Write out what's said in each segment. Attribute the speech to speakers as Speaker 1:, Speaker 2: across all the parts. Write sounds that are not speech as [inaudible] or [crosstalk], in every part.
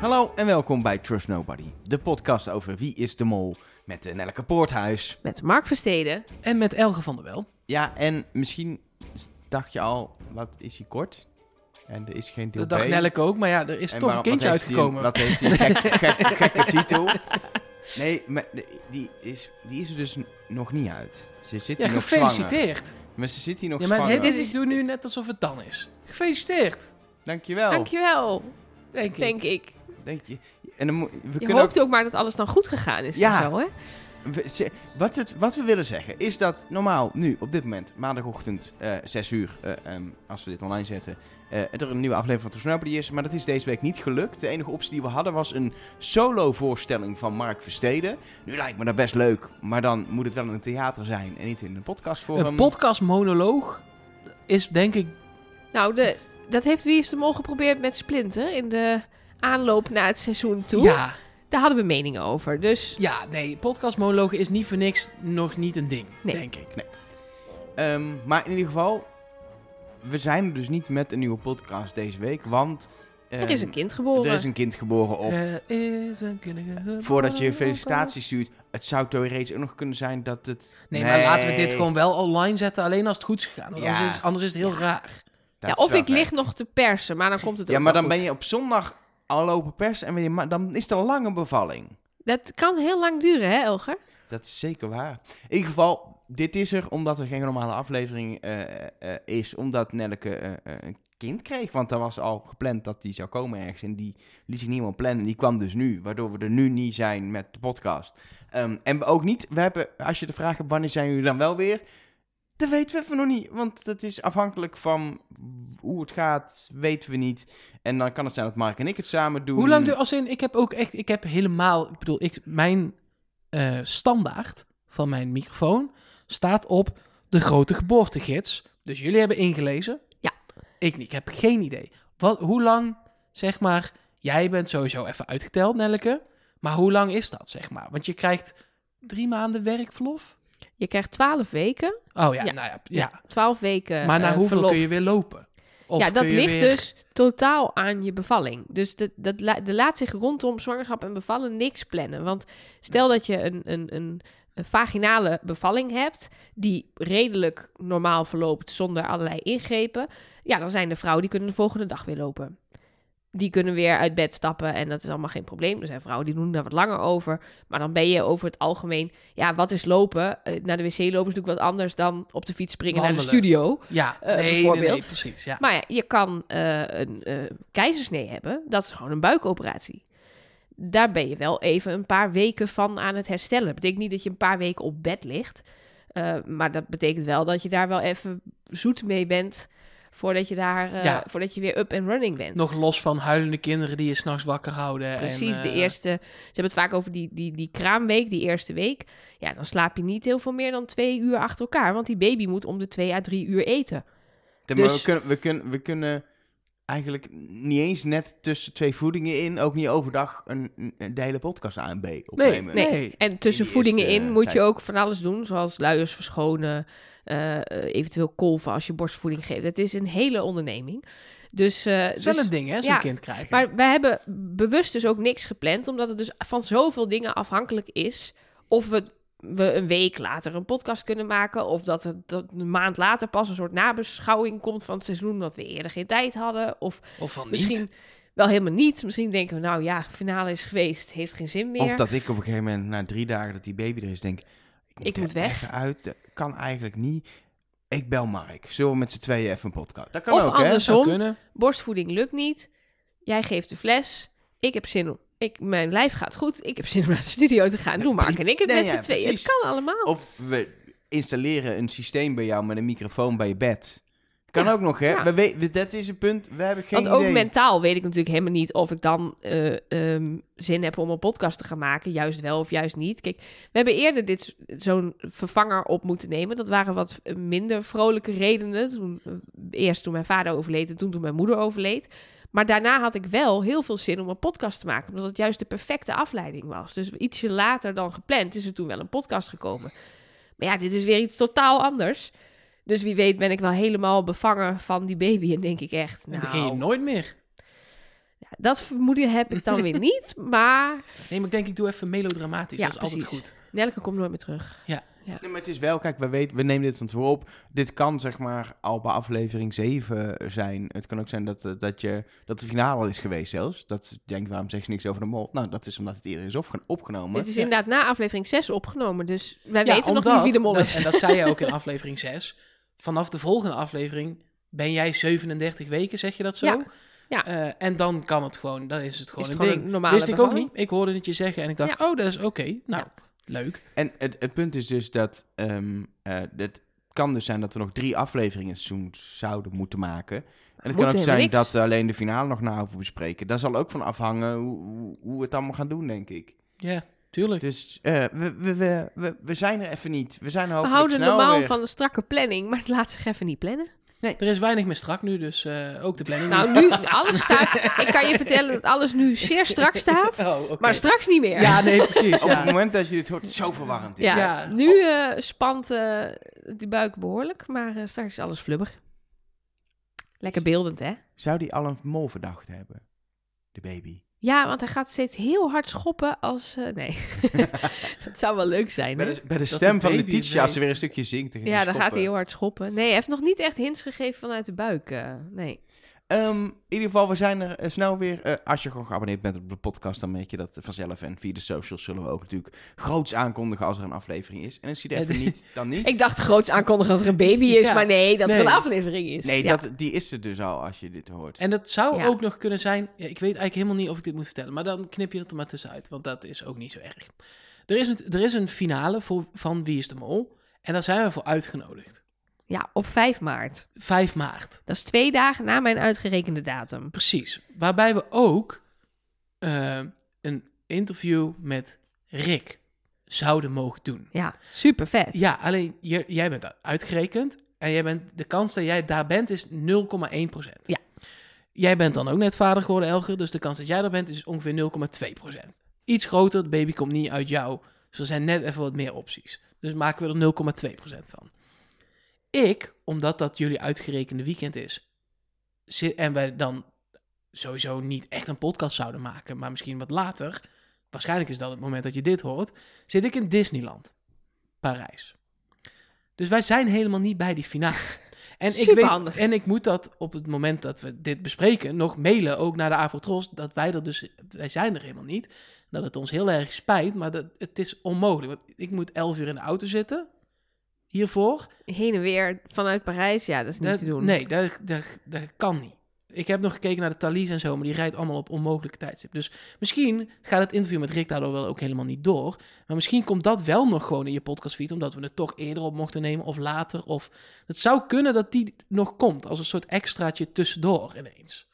Speaker 1: Hallo en welkom bij Trust Nobody, de podcast over wie is de mol met eh, Nelleke Poorthuis.
Speaker 2: Met Mark Versteden.
Speaker 1: Oh.
Speaker 3: En met Elge van der Wel.
Speaker 1: Ja, en misschien dacht je al, wat is hij kort? En er is geen deel
Speaker 3: Dat dacht
Speaker 1: B.
Speaker 3: Nelleke ook, maar ja, er is
Speaker 1: En
Speaker 3: toch
Speaker 1: waarom-
Speaker 3: een kindje
Speaker 1: wat heeft hij
Speaker 3: uitgekomen.
Speaker 1: Een, wat heeft hij een gek-
Speaker 3: [laughs]
Speaker 1: gek- gekke titel? Nee, maar de- die is, die is er dus n- nog niet uit. Ze zit
Speaker 3: ja,
Speaker 1: hier nog zwanger.
Speaker 3: gefeliciteerd.
Speaker 1: Maar ze zit hier nog
Speaker 3: Ja, maar
Speaker 1: zwanger.
Speaker 3: dit is, ik doe nu net alsof het dan is. Gefeliciteerd,
Speaker 1: Dankjewel.
Speaker 2: Dankjewel,
Speaker 3: denk ik.
Speaker 2: denk ik.
Speaker 1: Denk je. En dan moet- we
Speaker 2: Je
Speaker 1: kunnen
Speaker 2: hoopt ook... maar dat alles dan goed gegaan is
Speaker 1: Ja.
Speaker 2: of zo, hè?
Speaker 1: We- ze- Wat, het, wat we willen zeggen is dat normaal nu op dit moment, maandagochtend eh 6 uur, eh, ehm, als we dit online zetten, eh, er een nieuwe aflevering van Tersnobody is. Maar dat is deze week niet gelukt. De enige optie die we hadden was een solo voorstelling van Mark Versteden. Nu lijkt me dat best leuk, maar dan moet het wel in een theater zijn en niet in een podcastvorm.
Speaker 3: Een podcastmonoloog is denk ik...
Speaker 2: Nou, de, dat heeft Wie is de Mol geprobeerd met Splinter in de aanloop naar het seizoen toe.
Speaker 3: Ja,
Speaker 2: Daar hadden we meningen over, dus...
Speaker 3: ja, nee, podcastmonoloog is niet voor niks nog niet een ding,
Speaker 2: Nee.
Speaker 3: denk ik.
Speaker 1: Ehm, maar in ieder geval, we zijn er dus niet met een nieuwe podcast deze week, want... ehm,
Speaker 2: Er is een kind geboren.
Speaker 1: Er is een kind geboren of
Speaker 3: Er Eh, is een kinderge-
Speaker 1: [laughs] Voordat je felicitaties stuurt, het zou theoretisch ook nog kunnen zijn dat het...
Speaker 3: Nee, maar laten we dit gewoon wel online zetten, alleen als het goed is gegaan. Want
Speaker 1: Ja.
Speaker 3: anders, is, anders is het heel raar.
Speaker 1: Dat
Speaker 2: Ja,
Speaker 1: is
Speaker 2: of
Speaker 1: wel
Speaker 2: ik
Speaker 1: gek.
Speaker 2: lig nog te persen, maar dan komt het
Speaker 1: Ja,
Speaker 2: ook
Speaker 1: maar
Speaker 2: wel
Speaker 1: dan
Speaker 2: goed.
Speaker 1: ben je op zondag al lopen pers en ben je ma- dan is het een lange bevalling.
Speaker 2: Dat kan heel lang duren, hè, Elger?
Speaker 1: Dat is zeker waar. In ieder geval, dit is er omdat er geen normale aflevering eh, eh, is. Omdat Nelleke eh, eh, een kind kreeg. Want er was al gepland dat die zou komen ergens. En die liet zich niemand plannen. Die kwam dus nu. Waardoor we er nu niet zijn met de podcast. Ehm, en we ook niet, we hebben, als je de vraag hebt wanneer zijn jullie dan wel weer? Dat weten we even nog niet. Want dat is afhankelijk van hoe het gaat, weten we niet. En dan kan het zijn dat Mark en ik het samen doen.
Speaker 3: Hoe lang duurt... Als in, ik heb ook echt... Ik heb helemaal... Ik bedoel, ik, mijn eh, standaard van mijn microfoon staat op de grote geboortegids. Dus jullie hebben ingelezen?
Speaker 2: Ja.
Speaker 3: Ik niet. Ik heb geen idee. Wat, hoe lang, zeg maar... Jij bent sowieso even uitgeteld, Nelleke. Maar hoe lang is dat, zeg maar? Want je krijgt drie maanden werkverlof?
Speaker 2: Je krijgt twaalf weken.
Speaker 3: Oh ja,
Speaker 2: Ja.
Speaker 3: nou ja. ja.
Speaker 2: Twaalf weken
Speaker 3: maar na
Speaker 2: eh,
Speaker 3: hoeveel
Speaker 2: verlof.
Speaker 3: kun je weer lopen? Of
Speaker 2: ja, dat
Speaker 3: kun je
Speaker 2: ligt
Speaker 3: weer-
Speaker 2: dus totaal aan je bevalling. Dus dat, dat, la- er laat zich rondom zwangerschap en bevallen niks plannen. Want stel dat je een, een, een, een vaginale bevalling hebt, die redelijk normaal verloopt zonder allerlei ingrepen. Ja, dan zijn de vrouwen die kunnen de volgende dag weer lopen. Die kunnen weer uit bed stappen en dat is allemaal geen probleem. Er zijn vrouwen die doen daar wat langer over. Maar dan ben je over het algemeen... Ja, wat is lopen? Eh, naar de wc lopen is natuurlijk wat anders dan op de fiets springen naar de
Speaker 3: Wandelen.
Speaker 2: studio.
Speaker 3: Ja,
Speaker 2: eh,
Speaker 3: nee, nee, nee,
Speaker 2: bijvoorbeeld.
Speaker 3: precies. Ja.
Speaker 2: Maar ja, je kan eh, een eh, keizersnee hebben. Dat is gewoon een buikoperatie. Daar ben je wel even een paar weken van aan het herstellen. Dat betekent niet dat je een paar weken op bed ligt. eh, maar dat betekent wel dat je daar wel even zoet mee bent. Voordat je, daar, eh,
Speaker 3: Ja.
Speaker 2: voordat je weer up and running bent.
Speaker 3: Nog los van huilende kinderen die je s'nachts wakker houden.
Speaker 2: Precies,
Speaker 3: en,
Speaker 2: de
Speaker 3: eh,
Speaker 2: eerste. Ze hebben het vaak over die, die, die kraamweek, die eerste week. Ja, dan slaap je niet heel veel meer dan twee uur achter elkaar. Want die baby moet om de twee à drie uur eten.
Speaker 1: Ja, maar
Speaker 2: Dus-
Speaker 1: we, kunnen, we, kunnen, we kunnen eigenlijk niet eens net tussen twee voedingen in, ook niet overdag, een, een- de hele podcast aan B
Speaker 3: Nee,
Speaker 1: opnemen.
Speaker 3: nee.
Speaker 2: En tussen
Speaker 1: die
Speaker 2: voedingen
Speaker 1: eerste,
Speaker 2: in
Speaker 1: eh,
Speaker 2: moet je
Speaker 1: tijd.
Speaker 2: ook van alles doen, zoals luiers verschonen, eh, eh, eventueel kolven als je borstvoeding geeft. Het is een hele onderneming. Dus, eh,
Speaker 3: Het is wel
Speaker 2: dus-
Speaker 3: een ding, hè, zo'n
Speaker 2: ja,
Speaker 3: kind krijgen.
Speaker 2: maar wij hebben bewust dus ook niks gepland, omdat het dus van zoveel dingen afhankelijk is of we, we een week later een podcast kunnen maken, of dat het dat een maand later pas een soort nabeschouwing komt van het seizoen dat we eerder geen tijd hadden, of
Speaker 3: of van niet.
Speaker 2: misschien wel helemaal niet. Misschien denken we, nou ja, finale is geweest, heeft geen zin meer.
Speaker 1: Of dat ik op een gegeven moment na drie dagen dat die baby er is, denk ik moet,
Speaker 2: Ik
Speaker 1: er
Speaker 2: moet weg.
Speaker 1: even uit, dat kan eigenlijk niet. Ik bel Mark, zullen we met z'n tweeën even een podcast? Dat kan
Speaker 2: Of
Speaker 1: ook,
Speaker 3: Dat zou
Speaker 2: andersom.
Speaker 3: kunnen.
Speaker 2: borstvoeding lukt niet. Jij geeft de fles. Ik heb zin om. Ik, mijn lijf gaat goed. Ik heb zin om naar de studio te gaan. Doe maar. En ik heb
Speaker 1: Nee,
Speaker 2: met
Speaker 1: ja,
Speaker 2: z'n tweeën.
Speaker 1: precies.
Speaker 2: Het kan allemaal.
Speaker 1: hè? Of we installeren een systeem bij jou met een microfoon bij je bed. Kan ook nog, hè?
Speaker 2: ja.
Speaker 1: We we- we- dat is een punt, we hebben geen
Speaker 2: Want ook
Speaker 1: idee.
Speaker 2: mentaal weet ik natuurlijk helemaal niet of ik dan eh, ehm, zin heb om een podcast te gaan maken. Juist wel of juist niet. Kijk, we hebben eerder dit s- zo'n vervanger op moeten nemen. Dat waren wat eh, minder vrolijke redenen. Toen, eh, eerst toen mijn vader overleed en toen toen mijn moeder overleed. Maar daarna had ik wel heel veel zin om een podcast te maken. Omdat het juist de perfecte afleiding was. Dus ietsje later dan gepland is er toen wel een podcast gekomen. Maar ja, dit is weer iets totaal anders. Dus wie weet ben ik wel helemaal bevangen van die baby en [laughs] denk ik echt...
Speaker 3: Dan
Speaker 2: Nou,
Speaker 3: begin je nooit meer.
Speaker 2: ja, Dat vermoeden heb ik dan
Speaker 3: [laughs]
Speaker 2: weer niet. Maar
Speaker 3: Nee, maar ik denk, ik doe even melodramatisch.
Speaker 2: Ja,
Speaker 3: dat is altijd
Speaker 2: precies.
Speaker 3: goed.
Speaker 2: Nelke komt nooit meer terug.
Speaker 1: Nee, maar het is wel, kijk, we, weten, we nemen dit van tevoren op. Dit kan zeg maar al bij aflevering 7 zijn. Het kan ook zijn dat, eh, dat, je, dat de finale al is geweest zelfs. Dat je denkt, waarom zeg je niks over de mol? Nou, dat is omdat het eerder is opge- opgenomen.
Speaker 2: Dit is inderdaad na aflevering 6 opgenomen. Dus wij
Speaker 3: Ja,
Speaker 2: weten nog
Speaker 3: omdat-
Speaker 2: niet wie de mol
Speaker 3: dat-
Speaker 2: is.
Speaker 3: En dat zei je
Speaker 2: [laughs]
Speaker 3: ook in aflevering 6. Vanaf de volgende aflevering ben jij 37 weken, zeg je dat zo?
Speaker 2: Ja, ja.
Speaker 3: Eh, en dan kan het gewoon, dan is het gewoon
Speaker 2: Is
Speaker 3: een
Speaker 2: het gewoon
Speaker 3: ding.
Speaker 2: een normale
Speaker 3: Wist ik ook
Speaker 2: bevalling?
Speaker 3: niet. Ik hoorde het je zeggen en ik dacht, oh, dat is oké. Nou, leuk.
Speaker 1: En het, het punt is dus dat ehm, eh, het kan dus zijn dat we nog drie afleveringen in het seizoen zouden moeten maken. En het
Speaker 2: Moeten
Speaker 1: kan ook
Speaker 2: helemaal
Speaker 1: zijn
Speaker 2: niks.
Speaker 1: dat we alleen de finale nog na hoeven bespreken. Daar zal ook van afhangen hoe, hoe, hoe we het allemaal gaan doen, denk ik.
Speaker 3: Ja, tuurlijk.
Speaker 1: Dus eh, we, we, we, we, we zijn er even niet. We zijn er
Speaker 2: We
Speaker 1: hopelijk
Speaker 2: houden
Speaker 1: snel
Speaker 2: normaal
Speaker 1: weer.
Speaker 2: van een strakke planning, maar het laat zich even niet plannen.
Speaker 3: Er is weinig meer strak nu, dus eh, ook de planning
Speaker 2: Nou,
Speaker 3: niet.
Speaker 2: nu alles staat.
Speaker 3: [laughs]
Speaker 2: Ik kan je vertellen dat alles nu zeer strak staat, [laughs]
Speaker 3: Oh, [laughs] oké.
Speaker 2: maar Oh, straks niet meer.
Speaker 3: Ja, nee,
Speaker 2: [laughs]
Speaker 3: precies.
Speaker 1: Op het
Speaker 3: Ja.
Speaker 1: moment dat je dit hoort, zo verwarrend. is.
Speaker 2: Ja,
Speaker 3: Ja.
Speaker 2: nu eh, spant eh, de buik behoorlijk, maar eh, straks is alles flubber. Lekker beeldend, hè?
Speaker 1: Zou die al een mol verdacht hebben? De baby.
Speaker 2: Ja, want hij gaat steeds heel hard schoppen als... eh, nee,
Speaker 3: [laughs]
Speaker 2: [laughs] dat zou wel leuk zijn.
Speaker 1: Bij
Speaker 2: hè?
Speaker 1: de, bij de
Speaker 3: de
Speaker 1: stem van
Speaker 3: baby
Speaker 1: Letitia, als ze
Speaker 3: weet.
Speaker 1: weer een stukje zingt. dan
Speaker 2: eh, Ja, dan gaat
Speaker 1: schoppen.
Speaker 2: hij heel hard schoppen. Nee, hij heeft nog niet echt hints gegeven vanuit de buik. eh, nee.
Speaker 1: Ehm, in ieder geval, we zijn er eh, snel weer. Eh, als je gewoon geabonneerd bent op de podcast, dan merk je dat vanzelf. En via de socials zullen we ook natuurlijk groots aankondigen als er een aflevering is. En als je er even
Speaker 3: Ja,
Speaker 1: niet, dan niet.
Speaker 2: [laughs] Ik dacht groots aankondigen dat er een baby is,
Speaker 3: Ja.
Speaker 2: maar nee, dat
Speaker 3: Nee.
Speaker 2: er een aflevering is.
Speaker 1: Nee,
Speaker 2: Ja.
Speaker 1: dat, die is er dus al als je dit hoort.
Speaker 3: En dat zou
Speaker 2: Ja.
Speaker 3: ook nog kunnen zijn. ja, ik weet eigenlijk helemaal niet of ik dit moet vertellen. Maar dan knip je het er maar tussenuit. Want dat is ook niet zo erg. Er is, een, er is een finale voor, van Wie is de Mol. En daar zijn we voor uitgenodigd.
Speaker 2: Ja, op 5 maart.
Speaker 3: 5 maart.
Speaker 2: Dat is twee dagen na mijn uitgerekende datum.
Speaker 3: Precies. Waarbij we ook eh, een interview met Rick zouden mogen doen.
Speaker 2: Ja, super vet.
Speaker 3: Ja, alleen je- jij bent uitgerekend. En jij bent, de kans dat jij daar bent is 0,1%.
Speaker 2: Ja.
Speaker 3: Jij bent dan ook net vader geworden, Elger. Dus de kans dat jij daar bent is ongeveer 0,2%. Iets groter, het baby komt niet uit jou. Dus er zijn net even wat meer opties. Dus maken we er 0,2% van. Ik, omdat dat jullie uitgerekende weekend is... zi- en wij dan sowieso niet echt een podcast zouden maken... maar misschien wat later... waarschijnlijk is dat het moment dat je dit hoort... zit ik in Disneyland. Parijs. Dus wij zijn helemaal niet bij die finale. En ik, weet,
Speaker 2: Superhandig.
Speaker 3: en ik moet dat op het moment dat we dit bespreken nog mailen, ook naar de Avotros, dat wij er dus, wij zijn er helemaal niet. Dat het ons heel erg spijt, maar dat, het is onmogelijk. Want ik moet 11 uur in de auto zitten hiervoor.
Speaker 2: Heen en weer vanuit Parijs, ja, dat is niet
Speaker 3: Dat-
Speaker 2: te doen.
Speaker 3: Nee, dat, dat, dat kan niet. Ik heb nog gekeken naar de Thalys en zo, maar die rijdt allemaal op onmogelijke tijdstip. Dus misschien gaat het interview met Rick daardoor wel ook helemaal niet door. Maar misschien komt dat wel nog gewoon in je podcastfeed, omdat we het toch eerder op mochten nemen of later. Of het zou kunnen dat die nog komt als een soort extraatje tussendoor ineens.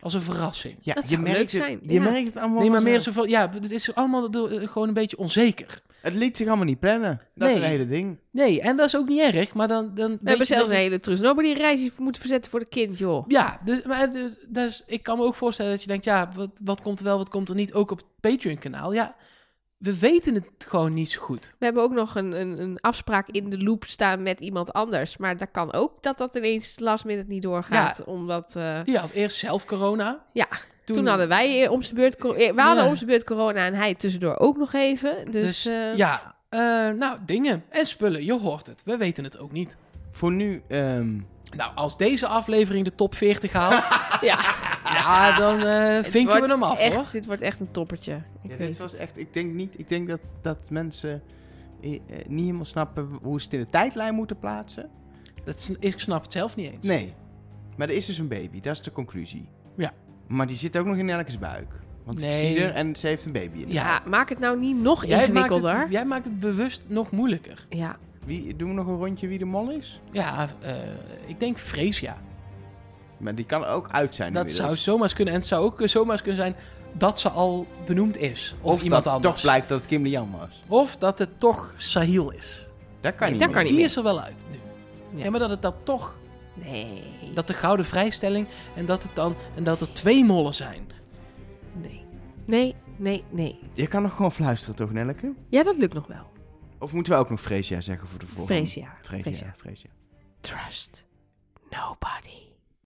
Speaker 3: Als een verrassing.
Speaker 1: ja,
Speaker 2: dat
Speaker 1: je
Speaker 2: zou
Speaker 1: merkt
Speaker 2: leuk
Speaker 1: het,
Speaker 2: zijn,
Speaker 1: Je
Speaker 2: ja.
Speaker 1: merkt het allemaal.
Speaker 3: Nee, maar meer
Speaker 1: vanzelf.
Speaker 3: zo van, ja, het is allemaal do- eh, gewoon een beetje onzeker.
Speaker 1: Het liet zich allemaal niet plannen. Dat is
Speaker 3: Nee.
Speaker 1: een hele ding.
Speaker 3: Nee, en dat is ook niet erg, maar dan...
Speaker 2: We
Speaker 3: dan weet je
Speaker 2: hebben zelfs
Speaker 3: dat-
Speaker 2: een hele trus nobody reis moeten verzetten voor de kind, joh.
Speaker 3: Ja, dus, maar het is- dus ik kan me ook voorstellen dat je denkt, ja, wat, wat komt er wel, wat komt er niet, ook op het Patreon-kanaal. Ja, we weten het gewoon niet zo goed.
Speaker 2: We hebben ook nog een, een, een afspraak in de loop staan met iemand anders. Maar dat kan ook dat dat ineens last minute niet doorgaat. Omdat, eh,
Speaker 3: Die had eerst zelf corona.
Speaker 2: ja, toen, hadden wij eh, om zijn beurt... co- eh, We hadden om zijn beurt corona en hij tussendoor ook nog even. Dus,
Speaker 3: Dus,
Speaker 2: eh,
Speaker 3: ja, eh, nou, dingen en spullen, je hoort het. We weten het ook niet.
Speaker 1: Voor nu, ehm,
Speaker 3: Nou, als deze aflevering de top
Speaker 2: [laughs]
Speaker 3: 40 haalt,
Speaker 2: [laughs]
Speaker 3: [laughs]
Speaker 2: ja.
Speaker 3: ja, dan eh
Speaker 2: Het
Speaker 3: vinken we
Speaker 2: wordt
Speaker 3: hem af,
Speaker 2: echt-
Speaker 3: hoor.
Speaker 2: Dit wordt echt een toppertje. Ik
Speaker 1: ja,
Speaker 2: weet
Speaker 1: dit was echt. Ik denk niet. Ik denk dat, dat mensen eh, eh, niet helemaal snappen hoe ze het in de tijdlijn moeten plaatsen.
Speaker 3: Dat is, ik snap het zelf niet eens.
Speaker 1: Nee. Maar er is dus een baby, dat is de conclusie.
Speaker 3: Ja.
Speaker 1: Maar die zit ook nog in Elkes buik. Want ik
Speaker 3: Nee.
Speaker 1: zie er en ze heeft een baby in.
Speaker 3: Ja.
Speaker 2: Ja, maak het nou niet nog
Speaker 3: Jij maakt,
Speaker 2: ingewikkelder.
Speaker 3: het, jij maakt het bewust nog moeilijker.
Speaker 2: Ja,
Speaker 1: Wie, doen we nog een rondje wie de mol is?
Speaker 3: Ja, eh, ik denk Freesia.
Speaker 1: Maar die kan ook uit zijn
Speaker 3: Dat zou
Speaker 1: inmiddels.
Speaker 3: zomaar eens kunnen. En het zou ook zomaar eens kunnen zijn dat ze al benoemd is. Of, iemand
Speaker 1: dat
Speaker 3: anders.
Speaker 1: toch blijkt dat het Kim Lian was.
Speaker 3: Of dat het toch Sahil is.
Speaker 1: Dat kan
Speaker 2: Nee,
Speaker 1: niet
Speaker 2: dat
Speaker 1: meer.
Speaker 2: kan niet.
Speaker 3: Die
Speaker 2: meer.
Speaker 3: is er wel uit nu. Ja.
Speaker 2: Ja.
Speaker 3: maar dat het dat toch...
Speaker 2: nee.
Speaker 3: Dat de gouden vrijstelling en dat, het dan, en dat er twee mollen zijn.
Speaker 2: Nee. Nee, nee, nee.
Speaker 1: Je kan nog gewoon fluisteren toch, Nelleke?
Speaker 2: Ja, dat lukt nog wel.
Speaker 1: Of moeten we ook nog Freesia zeggen voor de volgende?
Speaker 2: Freesia.
Speaker 1: Freesia.
Speaker 2: Freesia.
Speaker 1: Freesia.
Speaker 2: Trust nobody.